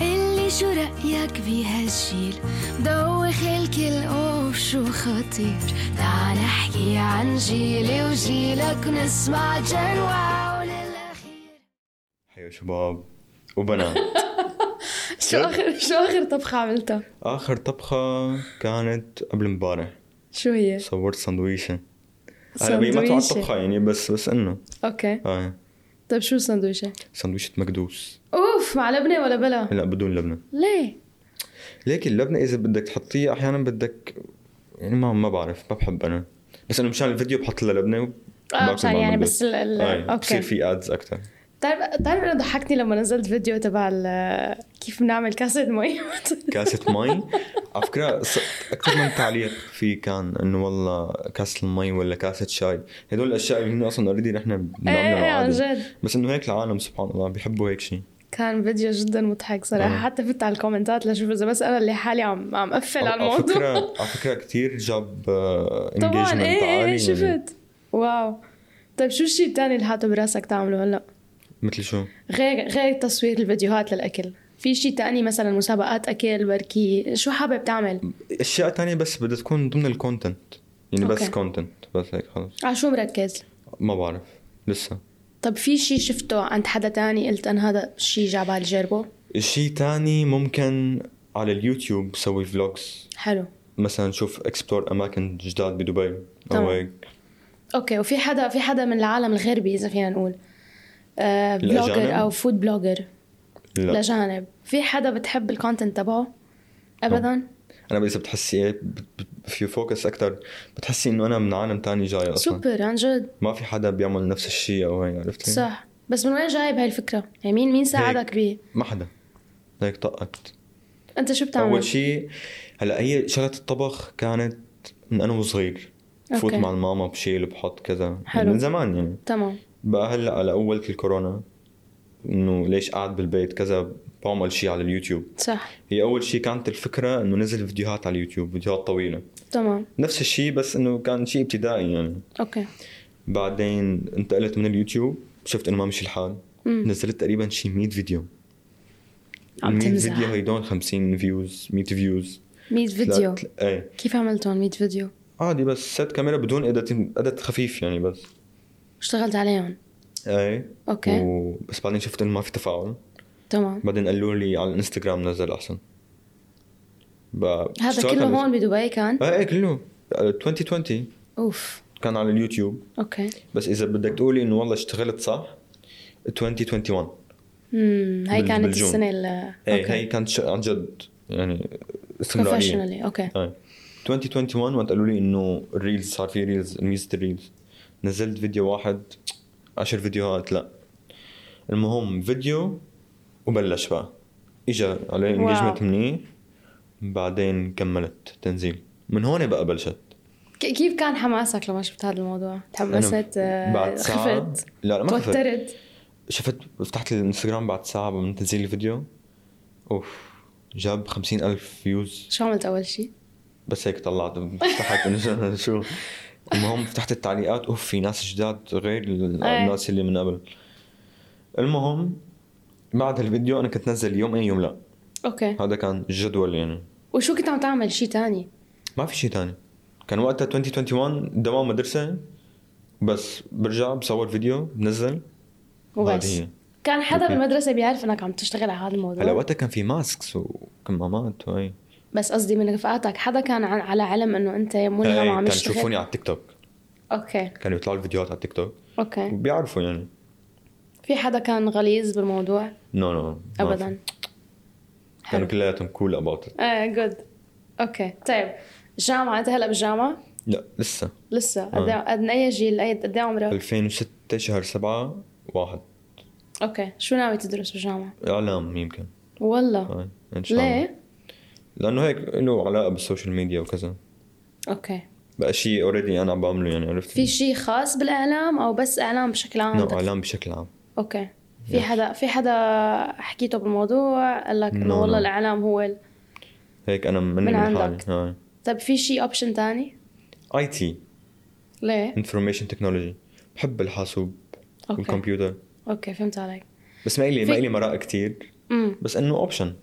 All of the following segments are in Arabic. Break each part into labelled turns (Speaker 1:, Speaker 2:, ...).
Speaker 1: اللي شو رأيك بهالجيل دوخ الكل اوف شو خطير تعال احكي عن جيلي وجيلك نسمع جنوا للأخير
Speaker 2: حيو أيوة شباب وبنات
Speaker 3: شو اخر شو اخر طبخه عملتها؟
Speaker 2: آخر طبخة كانت قبل امبارح
Speaker 3: شو هي؟
Speaker 2: صورت سندويشة هلا هي ما تعد
Speaker 3: سندويشة.
Speaker 2: طبخة يعني بس بس انه
Speaker 3: اوكي
Speaker 2: اه
Speaker 3: طيب شو السندويشه؟
Speaker 2: سندويشة مكدوس
Speaker 3: اوف مع لبنه ولا بلا؟
Speaker 2: لا بدون لبنة
Speaker 3: ليه؟
Speaker 2: لكن اللبنة إذا بدك تحطيه أحيانا بدك يعني ما ما بعرف ما بحب أنا بس أنا مشان الفيديو بحط لها لبنة وباكل
Speaker 3: اه مشان
Speaker 2: مع
Speaker 3: يعني
Speaker 2: مكدوس.
Speaker 3: بس ال ال
Speaker 2: آه، بصير
Speaker 3: اوكي
Speaker 2: في ادز اكثر
Speaker 3: بتعرف بتعرف انا ضحكتني لما نزلت فيديو تبع ال- كيف بنعمل كاسه مي
Speaker 2: كاسة مي على فكرة أكثر من تعليق في كان إنه والله كاسة المي ولا كاسة شاي هدول الأشياء اللي هن أصلا اوريدي نحن
Speaker 3: ايه
Speaker 2: بنعملها
Speaker 3: إيه، عن
Speaker 2: عادي.
Speaker 3: جد
Speaker 2: بس انه هيك العالم سبحان الله بيحبوا هيك شيء
Speaker 3: كان فيديو جدا مضحك صراحه
Speaker 2: آه.
Speaker 3: حتى فت على الكومنتات لاشوف اذا بس انا اللي حالي عم عم قفل على
Speaker 2: على
Speaker 3: الموضوع
Speaker 2: فكره على فكره كثير جاب
Speaker 3: طبعا
Speaker 2: انجيجمنت
Speaker 3: ايه ايه
Speaker 2: عالي
Speaker 3: ايه
Speaker 2: يعني.
Speaker 3: شفت واو طيب شو الشيء الثاني اللي حاطه براسك تعمله هلا؟
Speaker 2: مثل شو؟
Speaker 3: غير غير تصوير الفيديوهات للاكل في شيء تاني مثلا مسابقات اكل بركي شو حابب تعمل
Speaker 2: اشياء تانية بس بدها تكون ضمن الكونتنت يعني بس
Speaker 3: أوكي.
Speaker 2: كونتنت بس هيك خلص
Speaker 3: على آه، شو مركز
Speaker 2: ما بعرف لسه
Speaker 3: طب في شيء شفته عند حدا تاني قلت انا هذا الشيء جعبالي جربه
Speaker 2: شيء تاني ممكن على اليوتيوب سوي فلوجز
Speaker 3: حلو
Speaker 2: مثلا شوف اكسبلور اماكن جداد بدبي
Speaker 3: تمام.
Speaker 2: او هيك
Speaker 3: اوكي وفي حدا في حدا من العالم الغربي اذا فينا نقول آه
Speaker 2: الأجانب؟
Speaker 3: بلوجر او فود بلوجر
Speaker 2: لا
Speaker 3: لجانب في حدا بتحب الكونتنت تبعه ابدا
Speaker 2: انا اذا بتحسي هيك بت- بت- في فوكس اكثر بتحسي انه انا من عالم تاني جاي اصلا
Speaker 3: سوبر عن جد
Speaker 2: ما في حدا بيعمل نفس الشيء او هي عرفتي؟
Speaker 3: صح بس من وين جايب هاي الفكره يعني مين مين ساعدك بيه
Speaker 2: ما حدا هيك طقت
Speaker 3: انت شو بتعمل
Speaker 2: اول شيء هلا هي شغله الطبخ كانت من انا وصغير فوت
Speaker 3: أوكي.
Speaker 2: مع الماما بشيل بحط كذا
Speaker 3: حلو.
Speaker 2: من زمان يعني
Speaker 3: تمام
Speaker 2: بقى هلا على اول الكورونا انه ليش قاعد بالبيت كذا بعمل شيء على اليوتيوب
Speaker 3: صح
Speaker 2: هي اول شيء كانت الفكره انه نزل فيديوهات على اليوتيوب فيديوهات طويله
Speaker 3: تمام
Speaker 2: نفس الشيء بس انه كان شيء ابتدائي يعني
Speaker 3: اوكي
Speaker 2: بعدين انتقلت من اليوتيوب شفت انه ما مشي الحال
Speaker 3: مم.
Speaker 2: نزلت تقريبا شيء 100 فيديو
Speaker 3: عم
Speaker 2: 100
Speaker 3: تمزح.
Speaker 2: فيديو هيدون 50 فيوز 100 فيوز
Speaker 3: 100 فيديو
Speaker 2: لا- لا- ايه
Speaker 3: كيف عملتهم 100 فيديو؟
Speaker 2: عادي بس ست كاميرا بدون ادت ادت خفيف يعني بس
Speaker 3: اشتغلت عليهم
Speaker 2: ايه
Speaker 3: اوكي و...
Speaker 2: و... بس بعدين شفت انه ما في تفاعل
Speaker 3: تمام
Speaker 2: بعدين قالوا لي على الانستغرام نزل احسن بقى
Speaker 3: هذا
Speaker 2: اشتغلت
Speaker 3: كله
Speaker 2: على-
Speaker 3: هون بدبي كان
Speaker 2: ايه ايه كله 2020
Speaker 3: اوف
Speaker 2: كان على اليوتيوب
Speaker 3: اوكي
Speaker 2: بس اذا بدك تقولي انه والله اشتغلت صح 2021
Speaker 3: امم هاي
Speaker 2: بال-
Speaker 3: كانت
Speaker 2: بالجون.
Speaker 3: السنه ال
Speaker 2: ايه هي كانت ش- عن جد يعني استمراريه
Speaker 3: بروفيشنالي اوكي
Speaker 2: ايه 2021 وقت قالوا لي انه الريلز صار في ريلز ميزه الريلز نزلت فيديو واحد عشر فيديوهات لا المهم فيديو وبلش بقى اجى عليه
Speaker 3: واو.
Speaker 2: انجمنت منيح بعدين كملت تنزيل من هون بقى بلشت
Speaker 3: ك- كيف كان حماسك لما شفت هذا الموضوع؟ تحمست آه،
Speaker 2: بعد ساعة
Speaker 3: خفت
Speaker 2: لا لا ما خفت
Speaker 3: توترت
Speaker 2: شفت فتحت الانستغرام بعد ساعة من تنزيل الفيديو اوف جاب خمسين ألف فيوز
Speaker 3: شو عملت اول شيء؟
Speaker 2: بس هيك طلعت فتحت انه شو المهم فتحت التعليقات اوف في ناس جداد غير ال-
Speaker 3: إيه.
Speaker 2: الناس اللي من قبل المهم بعد الفيديو انا كنت نزل يوم اي يوم لا
Speaker 3: اوكي
Speaker 2: هذا كان الجدول يعني
Speaker 3: وشو كنت عم تعمل شيء تاني؟
Speaker 2: ما في شيء تاني كان وقتها 2021 دوام مدرسه بس برجع بصور فيديو بنزل
Speaker 3: وبس
Speaker 2: هذه هي.
Speaker 3: كان حدا
Speaker 2: أوكي.
Speaker 3: بالمدرسه بيعرف انك عم تشتغل على هذا
Speaker 2: هلا
Speaker 3: الموضوع
Speaker 2: وقتها كان في ماسكس وكمامات وهي
Speaker 3: بس قصدي من رفقاتك حدا كان عن- على علم انه انت
Speaker 2: هي،
Speaker 3: ملهم عم
Speaker 2: كانوا
Speaker 3: تشتغل
Speaker 2: إيه، يشوفوني على التيك توك
Speaker 3: اوكي
Speaker 2: كانوا يطلعوا الفيديوهات على التيك توك
Speaker 3: اوكي
Speaker 2: بيعرفوا يعني
Speaker 3: في حدا كان غليظ بالموضوع؟
Speaker 2: نو نو
Speaker 3: ابدا
Speaker 2: كانوا
Speaker 3: حلو
Speaker 2: كلياتهم كول اباوت
Speaker 3: ايه جود اوكي طيب الجامعة انت هلا بالجامعة
Speaker 2: لا لسه
Speaker 3: لسه
Speaker 2: آه.
Speaker 3: قد قد اي جيل أي- قد ايه عمرك؟
Speaker 2: 2006 شهر 7 واحد
Speaker 3: اوكي شو ناوي تدرس بالجامعة؟
Speaker 2: اعلام يمكن
Speaker 3: والله
Speaker 2: هاي ان آه، شاء الله
Speaker 3: ليه؟
Speaker 2: لانه هيك له علاقه بالسوشيال ميديا وكذا
Speaker 3: اوكي
Speaker 2: بقى شيء اوريدي انا عم بعمله يعني عرفت
Speaker 3: في شيء خاص بالاعلام او بس اعلام بشكل عام؟
Speaker 2: نو نعم. اعلام بشكل عام
Speaker 3: اوكي في حدا في حدا حكيته بالموضوع قال لك
Speaker 2: No,
Speaker 3: انه والله
Speaker 2: no.
Speaker 3: الاعلام هو ال...
Speaker 2: هيك انا من,
Speaker 3: من
Speaker 2: من حالي
Speaker 3: عندك.
Speaker 2: هاي
Speaker 3: طيب في شيء اوبشن تاني؟
Speaker 2: اي تي نعم،
Speaker 3: ليه؟
Speaker 2: انفورميشن تكنولوجي بحب الحاسوب
Speaker 3: اوكي
Speaker 2: والكمبيوتر
Speaker 3: اوكي فهمت عليك
Speaker 2: بس ما الي ما
Speaker 3: في-
Speaker 2: الي مراء كثير
Speaker 3: امم
Speaker 2: بس انه اوبشن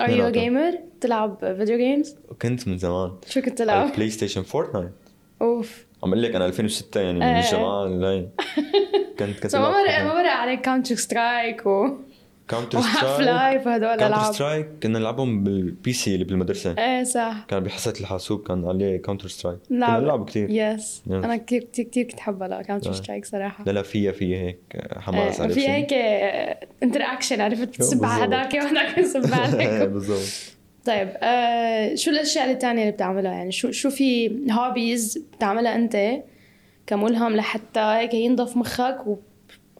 Speaker 3: ار يو
Speaker 2: اثنيناتهم.
Speaker 3: جيمر تلعب فيديو جيمز
Speaker 2: كنت من زمان
Speaker 3: شو كنت
Speaker 2: على
Speaker 3: تلعب
Speaker 2: البلاي ستيشن فورتنايت
Speaker 3: اوف
Speaker 2: عم اقول لك انا 2006 يعني من
Speaker 3: إيه.
Speaker 2: الجماعه اللي كنت كنت
Speaker 3: سو ما مرق ما مرق عليك كاونتر سترايك و
Speaker 2: كاونتر
Speaker 3: وهاف
Speaker 2: سترايك
Speaker 3: لايف وهدول
Speaker 2: كاونتر
Speaker 3: الالعاب
Speaker 2: سترايك كنا نلعبهم بالبي سي اللي بالمدرسه
Speaker 3: ايه صح
Speaker 2: كان بحصه الحاسوب كان عليه كاونتر سترايك كنا
Speaker 3: نلعب
Speaker 2: نلعب كثير
Speaker 3: يس
Speaker 2: Yes.
Speaker 3: انا كثير كثير كثير كنت حبها لكاونتر
Speaker 2: آه.
Speaker 3: سترايك صراحه
Speaker 2: لا لا فيها فيها هيك حماس
Speaker 3: آه،
Speaker 2: عرفت
Speaker 3: في هيك انتر اكشن عرفت تسب على
Speaker 2: بالظبط.
Speaker 3: هداك وهداك يسب عليك
Speaker 2: بالضبط
Speaker 3: طيب آه شو الاشياء الثانيه اللي بتعملها يعني شو شو في هوبيز بتعملها انت كملهم لحتى هيك ينضف مخك و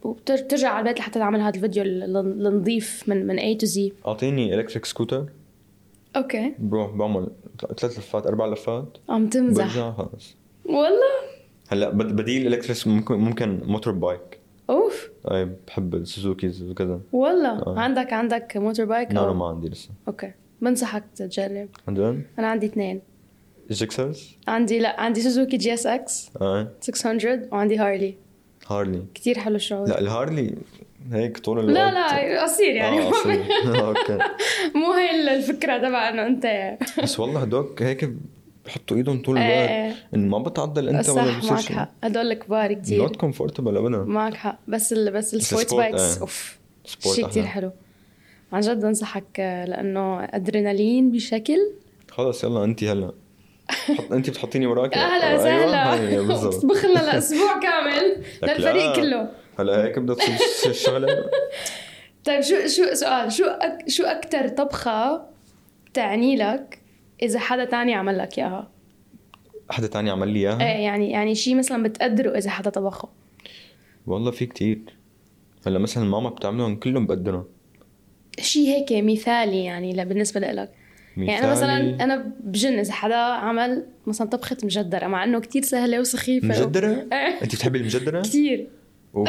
Speaker 3: وبترجع على البيت لحتى تعمل هذا الفيديو ال- ال- النظيف من من A to Z
Speaker 2: اعطيني الكتريك سكوتر
Speaker 3: اوكي
Speaker 2: بروح بعمل ثلاث لفات اربع لفات
Speaker 3: عم تمزح
Speaker 2: برجع خلص
Speaker 3: والله
Speaker 2: هلا بد- بديل الكتريك ممكن ممكن موتور بايك
Speaker 3: اوف
Speaker 2: اي بحب السوزوكيز وكذا
Speaker 3: والله
Speaker 2: آه. نعم،
Speaker 3: عندك عندك موتور بايك
Speaker 2: نانو
Speaker 3: أو-
Speaker 2: ما عندي لسه
Speaker 3: اوكي بنصحك تجرب
Speaker 2: عن جد؟
Speaker 3: انا عندي اثنين
Speaker 2: جيكسرز
Speaker 3: عندي لا عندي سوزوكي جي اس اكس
Speaker 2: اي
Speaker 3: 600 وعندي هارلي
Speaker 2: هارلي
Speaker 3: كتير حلو الشعور
Speaker 2: لا الهارلي هيك طول الوقت
Speaker 3: لا لا قصير يعني
Speaker 2: آه، أصلاً. اوكي
Speaker 3: مو هي الفكره تبع انه انت
Speaker 2: بس والله هدوك هيك بحطوا ايدهم طول
Speaker 3: إيه،
Speaker 2: الوقت
Speaker 3: إيه.
Speaker 2: انه ما بتعدل انت ولا يعني؟
Speaker 3: صح
Speaker 2: بصير
Speaker 3: معك
Speaker 2: شيء
Speaker 3: حق هدول كبار كتير
Speaker 2: نوت كومفورتبل ابدا
Speaker 3: معك حق بس ال... بس السبورت
Speaker 2: السبورت،
Speaker 3: بايكس
Speaker 2: آه.
Speaker 3: اوف
Speaker 2: سبورت
Speaker 3: شيء
Speaker 2: أحلى.
Speaker 3: كتير حلو عن جد انصحك آه، لانه ادرينالين بشكل
Speaker 2: خلص يلا انت هلا حط انت بتحطيني وراك
Speaker 3: اهلا
Speaker 2: أيوة،
Speaker 3: سهلا
Speaker 2: هي بالضبط
Speaker 3: اطبخ لنا لاسبوع كامل
Speaker 2: لك
Speaker 3: للفريق
Speaker 2: لا.
Speaker 3: كله
Speaker 2: هلا هيك بدها تصير تصير الشغله
Speaker 3: طيب شو شو سؤال شو أك... شو اكثر طبخه تعني لك اذا حدا تاني عمل لك اياها
Speaker 2: حدا تاني عمل لي اياها
Speaker 3: ايه يعني يعني شيء مثلا بتقدره اذا حدا طبخه
Speaker 2: والله في كتير هلا مثلا ماما بتعملهم كلهم بقدرهم
Speaker 3: شيء هيك مثالي يعني ل- بالنسبه لإلك يعني انا مثلا
Speaker 2: مثالي.
Speaker 3: انا بجن اذا حدا عمل مثلا طبخه مجدره مع انه كتير سهله وسخيفه
Speaker 2: مجدرة؟
Speaker 3: إيه.
Speaker 2: انت بتحبي المجدرة؟
Speaker 3: كثير
Speaker 2: أوف.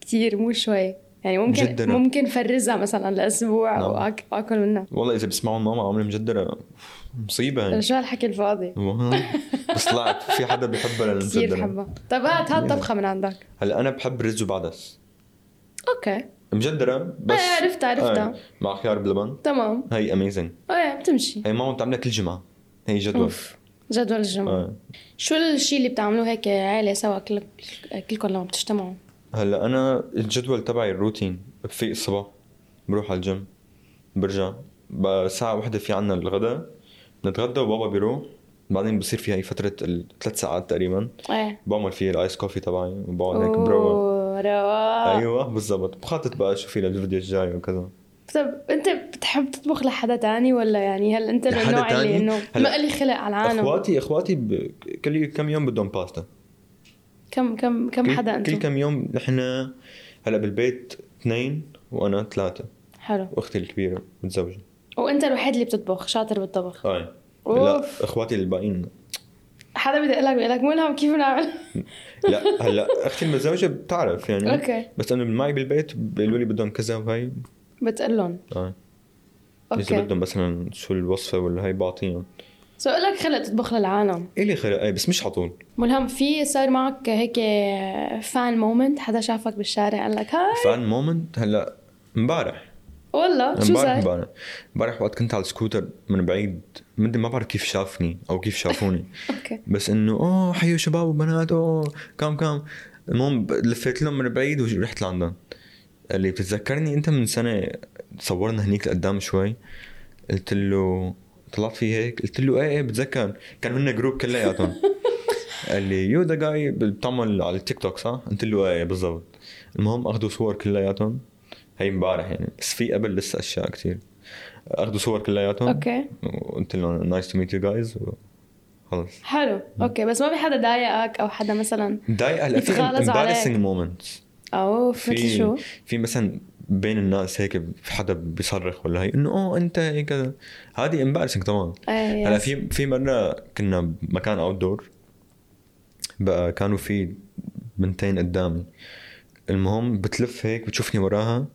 Speaker 3: كثير مو شوي يعني ممكن
Speaker 2: مجدرة.
Speaker 3: ممكن فرزها مثلا لاسبوع
Speaker 2: نعم.
Speaker 3: وأك... واكل منها
Speaker 2: والله اذا بسمعوا ماما عامله مجدرة أوف، مصيبة يعني
Speaker 3: رجال الحكي الفاضي
Speaker 2: والله. بس طلعت في حدا بيحبها
Speaker 3: كثير
Speaker 2: للمجدرة
Speaker 3: بحبها طيب هات
Speaker 2: يعني-
Speaker 3: هات طبخه من عندك
Speaker 2: هلا انا بحب رز وبعدس
Speaker 3: اوكي
Speaker 2: مجدرة بس
Speaker 3: إيه، عرفتها، عرفتها.
Speaker 2: إيه، مع خيار بلبن
Speaker 3: تمام
Speaker 2: هي اميزنج
Speaker 3: ايه بتمشي
Speaker 2: هي ماما بتعملها كل جمعة هي جدول
Speaker 3: اوف جدول الجمعه
Speaker 2: إيه.
Speaker 3: شو الشيء اللي بتعملوه هيك عيله سوا كل... كلكم لما بتجتمعوا
Speaker 2: هلا انا الجدول تبعي الروتين بفيق الصبح بروح على الجيم برجع ب- ساعة واحدة في عنا الغداء بنتغدى وبابا بيروح بعدين بصير في هي فترة الثلاث ساعات تقريبا
Speaker 3: ايه
Speaker 2: بعمل فيها الايس كوفي تبعي وبقعد هيك بروق
Speaker 3: اوه رواق
Speaker 2: ايوه بالضبط بخطط بقى شو في للفيديو الجاي وكذا
Speaker 3: طب انت بتحب تطبخ لحدا تاني ولا يعني هل انت من
Speaker 2: لحدا
Speaker 3: النوع اللي
Speaker 2: تاني؟
Speaker 3: انه
Speaker 2: هلا
Speaker 3: ما لي خلق على العالم
Speaker 2: اخواتي اخواتي ب... كل كم يوم بدهم باستا
Speaker 3: كم كم كم
Speaker 2: كل,
Speaker 3: حدا
Speaker 2: كل
Speaker 3: انتم
Speaker 2: كم يوم نحن هلا بالبيت اثنين وانا ثلاثة
Speaker 3: حلو
Speaker 2: واختي الكبيرة متزوجة
Speaker 3: وانت الوحيد اللي بتطبخ شاطر بالطبخ
Speaker 2: اي لا
Speaker 3: أوف.
Speaker 2: اخواتي الباقيين
Speaker 3: حدا بدق لك بيقول لك ملهم كيف نعمل
Speaker 2: لا هلا اختي المتزوجه بتعرف يعني
Speaker 3: أوكي.
Speaker 2: بس انه معي بالبيت بيقولوا لي بدهم كذا وهي
Speaker 3: بتقول لهم
Speaker 2: اه اذا
Speaker 3: اوكي
Speaker 2: بدهم مثلا شو الوصفه ولا هي بعطيهم
Speaker 3: سو لك خلق تطبخ للعالم
Speaker 2: الي خلق اي بس مش على طول
Speaker 3: ملهم في صار معك هيك فان مومنت حدا شافك بالشارع قال لك هاي
Speaker 2: فان مومنت هلا امبارح
Speaker 3: والله شو
Speaker 2: امبارح
Speaker 3: صار؟
Speaker 2: امبارح امبارح وقت كنت على السكوتر من بعيد مدري ما بعرف كيف شافني او كيف شافوني
Speaker 3: اوكي
Speaker 2: بس انه اوه حيو شباب وبنات اوه كام كام المهم ب- لفيت لهم من بعيد ورحت لعندهم قال لي بتتذكرني انت من سنه صورنا هنيك لقدام شوي قلت له طلعت فيه هيك قلت له ايه ايه بتذكر كان هن جروب كلياتهم قال لي يو ذا جاي بتعمل على التيك توك صح؟ قلت له ايه بالضبط المهم اخذوا صور كلياتهم هي امبارح يعني بس في قبل لسه اشياء كثير اخذوا صور كلياتهم
Speaker 3: اوكي
Speaker 2: وقلت لهم نايس تو ميت يو جايز خلص
Speaker 3: حلو اوكي بس ما في حدا ضايقك او حدا مثلا
Speaker 2: ضايقه هلا في
Speaker 3: يتغالظ عليك.
Speaker 2: embarrassing moments
Speaker 3: او مثل
Speaker 2: في
Speaker 3: شو؟
Speaker 2: في مثلا بين الناس هيك في حدا بيصرخ ولا هي انه اوه انت هيك كذا هذه امبارسنج طبعا
Speaker 3: إيه،
Speaker 2: هلا
Speaker 3: يس.
Speaker 2: في في مره كنا بمكان اوت دور بقى كانوا في بنتين قدامي المهم بتلف هيك بتشوفني وراها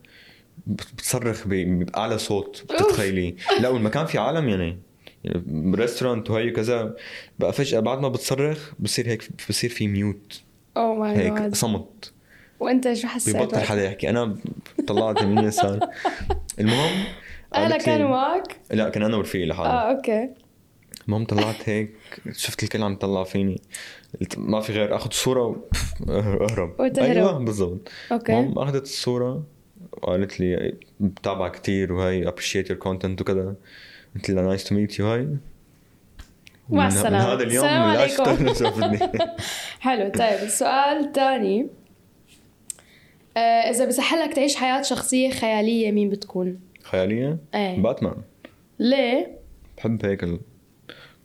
Speaker 2: بت- بتصرخ ب- باعلى صوت بتتخيلي لا والمكان في عالم يعني ريستورانت وهي وكذا بقى فجاه بعد ما بتصرخ بصير هيك بصير في ميوت
Speaker 3: او ماي
Speaker 2: هيك
Speaker 3: جاد
Speaker 2: صمت
Speaker 3: وانت شو حسيت؟
Speaker 2: ببطل
Speaker 3: وقتها؟
Speaker 2: حدا يحكي انا طلعت يمين يسار المهم
Speaker 3: اهلا
Speaker 2: قالت لي- آه.
Speaker 3: كانوا معك؟
Speaker 2: لا كان انا ورفيقي لحالي
Speaker 3: اه اوكي
Speaker 2: المهم طلعت هيك شفت الكل عم تطلع فيني قلت ما في غير اخذ صوره واهرب
Speaker 3: وتهرب.
Speaker 2: ايوه بالضبط
Speaker 3: اوكي
Speaker 2: المهم اخذت الصوره وقالت لي بتابعها كثير وهي ابريشيت يور كونتنت وكذا قلت لها نايس تو ميت يو هاي
Speaker 3: مع
Speaker 2: من-
Speaker 3: السلامة.
Speaker 2: من هذا اليوم
Speaker 3: السلام
Speaker 2: لا
Speaker 3: عليكم.
Speaker 2: شفتني شافتني
Speaker 3: حلو طيب السؤال الثاني آه اذا بسحلك تعيش حياة شخصية خيالية مين بتكون؟
Speaker 2: خياليه
Speaker 3: ايه
Speaker 2: باتمان
Speaker 3: ليه؟
Speaker 2: بحب هيك ال-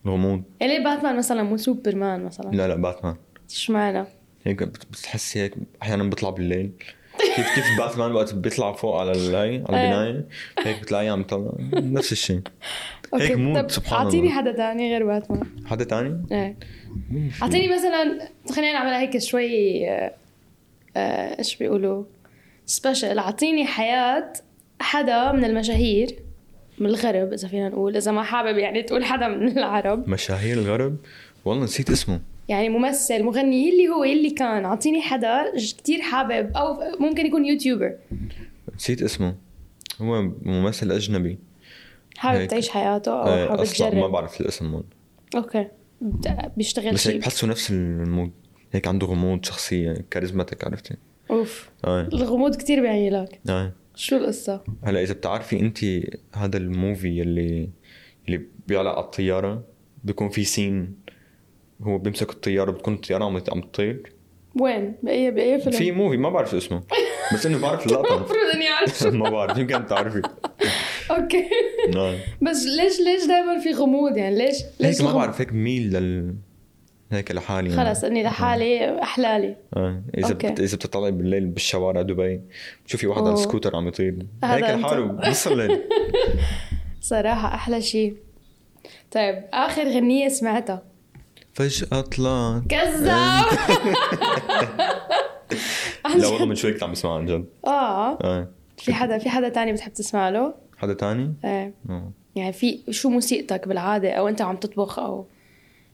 Speaker 2: الغموض
Speaker 3: يعني ليه باتمان مثلا مو سوبرمان مثلا؟
Speaker 2: لا لا باتمان
Speaker 3: اشمعنى؟
Speaker 2: هيك بت- بتحسي هيك احيانا بيطلع بالليل كيف كيف باتمان وقت بيطلع فوق على الهي
Speaker 3: إيه.
Speaker 2: على البنايه هيك بتلاقيه عم طلع نفس الشيء هيك مود، سبحان الله.
Speaker 3: اعطيني حدا ثاني غير باتمان
Speaker 2: حدا تاني؟
Speaker 3: ايه اعطيني مثلا خلينا نعملها هيك شوي آه، آه، ايش بيقولوا سبيشل اعطيني حياة حدا من المشاهير من الغرب اذا فينا نقول اذا ما حابب يعني تقول حدا من العرب
Speaker 2: مشاهير الغرب والله نسيت اسمه
Speaker 3: يعني ممثل مغني يلي هو يلي كان اعطيني حدا ج- كتير حابب او ممكن يكون يوتيوبر
Speaker 2: نسيت اسمه هو ممثل اجنبي
Speaker 3: حابب
Speaker 2: هيك.
Speaker 3: تعيش حياته او
Speaker 2: آه،
Speaker 3: حابب
Speaker 2: اصلا ما
Speaker 3: تجرب
Speaker 2: بعرف الاسم هون
Speaker 3: اوكي بت- بيشتغل
Speaker 2: بس هيك
Speaker 3: شيء
Speaker 2: بحسه نفس المود هيك عنده غموض شخصيه كاريزماتيك عرفتي؟
Speaker 3: اوف
Speaker 2: اه
Speaker 3: الغموض كتير بيعني لك
Speaker 2: اه
Speaker 3: شو القصة؟
Speaker 2: هلا اذا بتعرفي انت هذا الموفي اللي اللي بيعلق على الطياره بيكون في سين هو بيمسك الطياره بتكون الطياره عم عم تطير
Speaker 3: وين؟ بأي بأي فيلم؟
Speaker 2: في موفي ما بعرف شو اسمه بس انه بعرف اللقطه
Speaker 3: المفروض اني اعرف شو-
Speaker 2: ما بعرف يمكن بتعرفي
Speaker 3: اوكي
Speaker 2: آه.
Speaker 3: بس ليش ليش دائما في غموض يعني ليش ليش
Speaker 2: هيك ما
Speaker 3: الغم-
Speaker 2: بعرف هيك ميل لل هيك لحالي يعني.
Speaker 3: خلص اني لحالي احلالي
Speaker 2: آه. اذا
Speaker 3: أوكي.
Speaker 2: بت... اذا بتطلعي بالليل بالشوارع دبي بتشوفي واحد
Speaker 3: أوه.
Speaker 2: على السكوتر عم يطير
Speaker 3: هذا
Speaker 2: هيك
Speaker 3: أنت.
Speaker 2: لحاله بنص الليل
Speaker 3: صراحة احلى شيء طيب اخر غنية سمعتها
Speaker 2: فجأة طلعت
Speaker 3: كذاب عن
Speaker 2: لا والله
Speaker 3: جد.
Speaker 2: من شوي كنت عم بسمعها عن جد
Speaker 3: اه
Speaker 2: آه.
Speaker 3: في حدا في حدا تاني بتحب تسمع له؟
Speaker 2: حدا تاني؟
Speaker 3: ايه
Speaker 2: آه.
Speaker 3: يعني في شو موسيقتك بالعادة او انت عم تطبخ او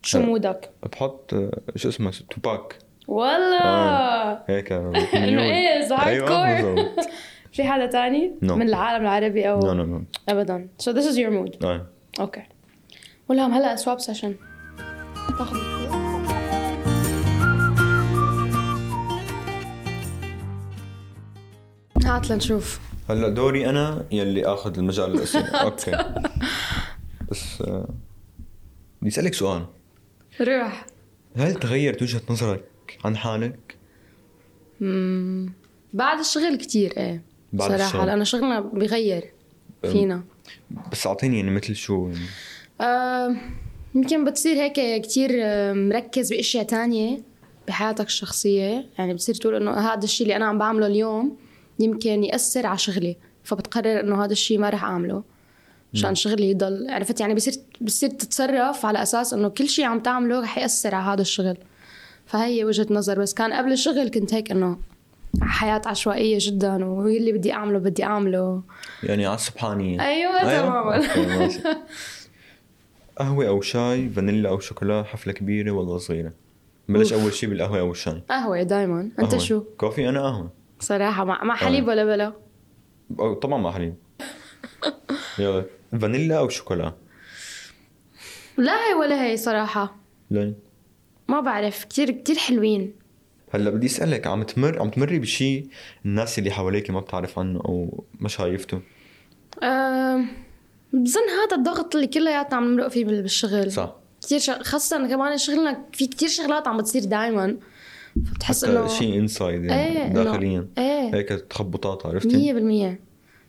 Speaker 3: شو
Speaker 2: لا.
Speaker 3: مودك؟
Speaker 2: بحط آه، شو اسمه توباك
Speaker 3: والله
Speaker 2: هيك آه،
Speaker 3: انه
Speaker 2: ميول.
Speaker 3: ايه هارد
Speaker 2: ايوه
Speaker 3: كور
Speaker 2: بالضبط
Speaker 3: في حدا تاني؟
Speaker 2: No.
Speaker 3: من العالم العربي او
Speaker 2: نو نو نو
Speaker 3: ابدا so this is your mood
Speaker 2: آه.
Speaker 3: اوكي ولهم هلا سواب سيشن هات لنشوف
Speaker 2: هلا دوري انا يلي اخذ المجال للاسئله اوكي بس آه، بدي اسالك سؤال
Speaker 3: روح
Speaker 2: هل تغيرت وجهه نظرك عن حالك؟
Speaker 3: مم. بعد الشغل كتير ايه
Speaker 2: إيه. بعد الشغل.
Speaker 3: صراحة لأنه شغلنا بغير
Speaker 2: أم.
Speaker 3: فينا
Speaker 2: بس اعطيني يعني مثل شو يعني
Speaker 3: آه، يمكن بتصير هيك كتير آه، مركز بأشياء تانية بحياتك الشخصية يعني بتصير تقول إنه هذا الشيء اللي أنا عم بعمله اليوم يمكن يأثر على شغلي فبتقرر إنه هذا الشيء ما رح أعمله مشان شغلي يضل عرفت يعني بصير بصير تتصرف على أساس إنه كل شيء عم تعمله رح يأثر على هذا الشغل فهي وجهة نظر بس كان قبل الشغل كنت هيك إنه حياة عشوائية جدا واللي بدي أعمله بدي أعمله
Speaker 2: يعني على السبحانية
Speaker 3: أيوة تماماً.
Speaker 2: أوكي، ماشي. قهوة أو شاي فانيلا أو شوكولا حفلة كبيرة ولا صغيرة بلش أول شي بالقهوة أو الشاي
Speaker 3: قهوة دايما أنت
Speaker 2: قهوة.
Speaker 3: شو
Speaker 2: كوفي أنا قهوة
Speaker 3: صراحة مع, مع حليب ولا بلا
Speaker 2: أو طبعا مع حليب يلا فانيلا أو شوكولا
Speaker 3: لا هي ولا هي صراحة
Speaker 2: ليه؟
Speaker 3: ما بعرف كتير كتير حلوين
Speaker 2: هلا بدي اسالك عم تمر عم تمري بشيء الناس اللي حواليك ما بتعرف عنه او ما شايفته
Speaker 3: أم، بظن هذا الضغط اللي كلياتنا عم نمرق فيه بال- بالشغل
Speaker 2: صح
Speaker 3: كتير شغ... خاصة كمان شغلنا في كتير شغلات عم بتصير دايما فبتحس
Speaker 2: حتى
Speaker 3: انه
Speaker 2: شيء انسايد يعني
Speaker 3: إيه، إنه-
Speaker 2: داخليا
Speaker 3: ايه
Speaker 2: هيك تخبطات عرفتي؟
Speaker 3: مية بالمية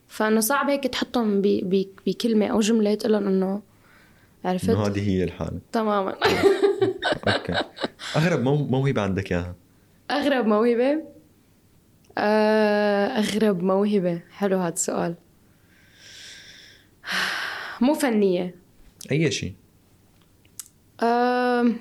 Speaker 3: فانه صعب هيك تحطهم ب... ب... بكلمة او جملة تقول لهم انه
Speaker 2: انه
Speaker 3: عرفت
Speaker 2: هذه هي الحالة
Speaker 3: تماما
Speaker 2: اوكي اغرب مو- موهبة عندك اياها
Speaker 3: اغرب موهبة آه، اغرب موهبة حلو هذا السؤال مو فنية
Speaker 2: اي شيء
Speaker 3: أم...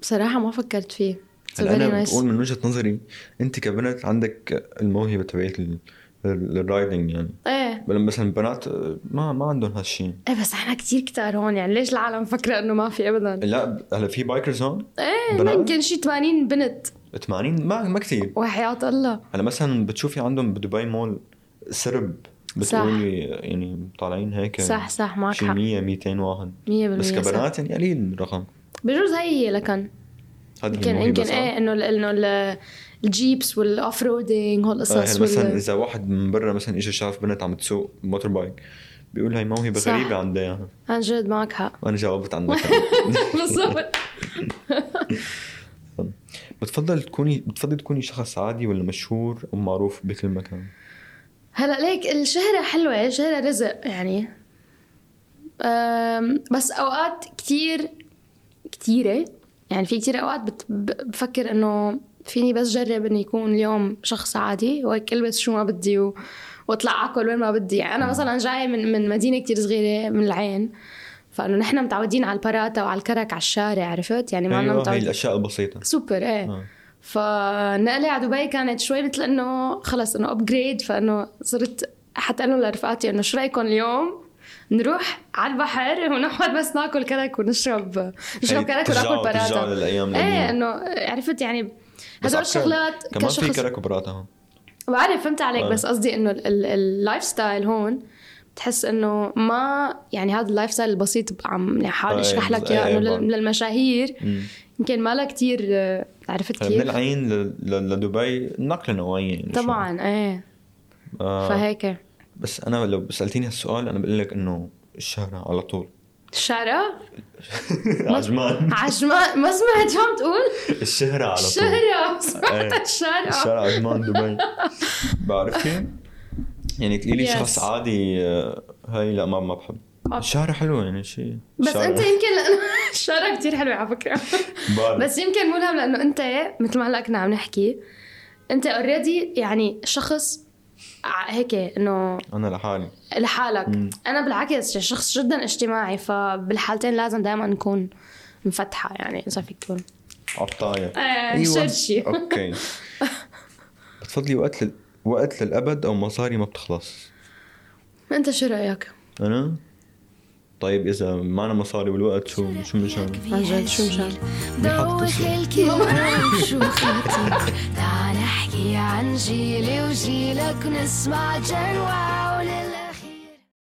Speaker 3: بصراحة ما فكرت فيه It's
Speaker 2: هلا انا
Speaker 3: very nice.
Speaker 2: بقول من وجهة نظري انت كبنت عندك الموهبة تبعت ال- ال- الرايدنج يعني
Speaker 3: ايه
Speaker 2: بل- مثلا بنات آه، ما ما عندهم هالشيء
Speaker 3: ايه بس احنا كتير كتار هون يعني ليش العالم فكرة انه ما في ابدا
Speaker 2: لا هلا في بايكرز هون
Speaker 3: ايه
Speaker 2: بنات؟
Speaker 3: ممكن شي 80 بنت
Speaker 2: 80 ما ما كثير
Speaker 3: وحياة الله
Speaker 2: هلا مثلا بتشوفي عندهم بدبي مول سرب بتقولي يعني طالعين هيك
Speaker 3: صح صح معك
Speaker 2: شي
Speaker 3: حق
Speaker 2: 100 200 واحد
Speaker 3: 100%
Speaker 2: بس كبنات يعني قليل الرقم
Speaker 3: بجوز هي هي لكن
Speaker 2: هذا آه،
Speaker 3: يمكن يمكن ايه انه ال- انه ال- الجيبس والاوف رودينج هالقصص
Speaker 2: هلا مثلا
Speaker 3: وال...
Speaker 2: اذا واحد من برا مثلا اجى شاف بنت عم تسوق موتور بايك بيقول هاي موهبه
Speaker 3: صح.
Speaker 2: غريبه عندها إياها.
Speaker 3: عن جد معك حق
Speaker 2: وانا جاوبت عن مثلا
Speaker 3: بالضبط
Speaker 2: بتفضل تكوني بتفضل تكوني شخص عادي ولا مشهور او معروف بكل مكان
Speaker 3: هلا ليك الشهرة حلوة الشهرة رزق يعني أم، بس اوقات كتير كتيرة يعني في كتير اوقات بت- ب- بفكر انه فيني بس جرب اني يكون اليوم شخص عادي وهيك البس شو ما بدي و... واطلع اكل وين ما بدي يعني انا مثلا جاي من من مدينه كتير صغيره من العين فانه نحن متعودين على البراتا وعلى الكرك على الشارع عرفت يعني ما
Speaker 2: ايوه هاي
Speaker 3: متعودين
Speaker 2: الاشياء البسيطه
Speaker 3: سوبر ايه
Speaker 2: آه.
Speaker 3: فنقلي على دبي كانت شوي مثل انه خلص انه ابجريد فانه صرت حتى انا لرفقاتي انه شو رايكم اليوم نروح على البحر ونقعد بس ناكل كرك ونشرب نشرب
Speaker 2: هي
Speaker 3: كرك
Speaker 2: ترجعوا-
Speaker 3: وناكل
Speaker 2: ترجعوا
Speaker 3: براتا
Speaker 2: للايام
Speaker 3: ايه
Speaker 2: القديمة.
Speaker 3: انه عرفت يعني
Speaker 2: بس عفكر،
Speaker 3: هدول الشغلات
Speaker 2: كمان في
Speaker 3: كشخص
Speaker 2: كرك وبراتا هون
Speaker 3: بعرف فهمت عليك
Speaker 2: آه.
Speaker 3: بس قصدي انه ال- ال- اللايف ستايل هون بتحس انه ما يعني هذا اللايف ستايل البسيط عم
Speaker 2: آه،
Speaker 3: حاول
Speaker 2: إيه،
Speaker 3: اشرح لك
Speaker 2: بس-
Speaker 3: اياه
Speaker 2: إيه،
Speaker 3: انه
Speaker 2: بعرف.
Speaker 3: لل- للمشاهير
Speaker 2: مم.
Speaker 3: يمكن ما لها كثير عرفت
Speaker 2: هلا من
Speaker 3: كيف؟
Speaker 2: العين ل- ل- لدبي نقله نوعيه يعني شوي.
Speaker 3: طبعا ايه
Speaker 2: آه.
Speaker 3: فهيك
Speaker 2: بس انا لو سالتيني هالسؤال انا بقول لك انه الشهرة على طول
Speaker 3: الشارع
Speaker 2: عجمان
Speaker 3: عجمان ما سمعت شو عم تقول؟
Speaker 2: الشهرة على طول
Speaker 3: الشارع
Speaker 2: إيه.
Speaker 3: سمعت الشارع
Speaker 2: الشارع عجمان دبي بعرفي يعني تقولي لي
Speaker 3: Yes.
Speaker 2: شخص عادي آه، هاي لا ما ما بحب
Speaker 3: أوكي.
Speaker 2: الشهرة حلوة يعني شيء
Speaker 3: بس انت يمكن لانه الشارع كثير حلوه على فكره
Speaker 2: بس
Speaker 3: بس يمكن ملهم لانه انت إيه، مثل ما هلا كنا عم نحكي انت اوريدي يعني شخص ع- هيك انه
Speaker 2: انا لحالي
Speaker 3: لحالك
Speaker 2: مم.
Speaker 3: انا بالعكس شخص جدا اجتماعي فبالحالتين لازم دائما نكون مفتحه يعني اذا فيك تكون
Speaker 2: عطاية
Speaker 3: إيه، شرشي.
Speaker 2: اوكي بتفضلي وقت لل... وقت للابد او مصاري ما بتخلص
Speaker 3: انت شو رايك؟
Speaker 2: انا طيب اذا معنا مصاري والوقت شو شو من شان
Speaker 1: عن جد شو مشان
Speaker 2: بيحطوا
Speaker 1: دوخ الكلام شو خطير تعال احكي عن جيلي وجيلك نسمع جنوا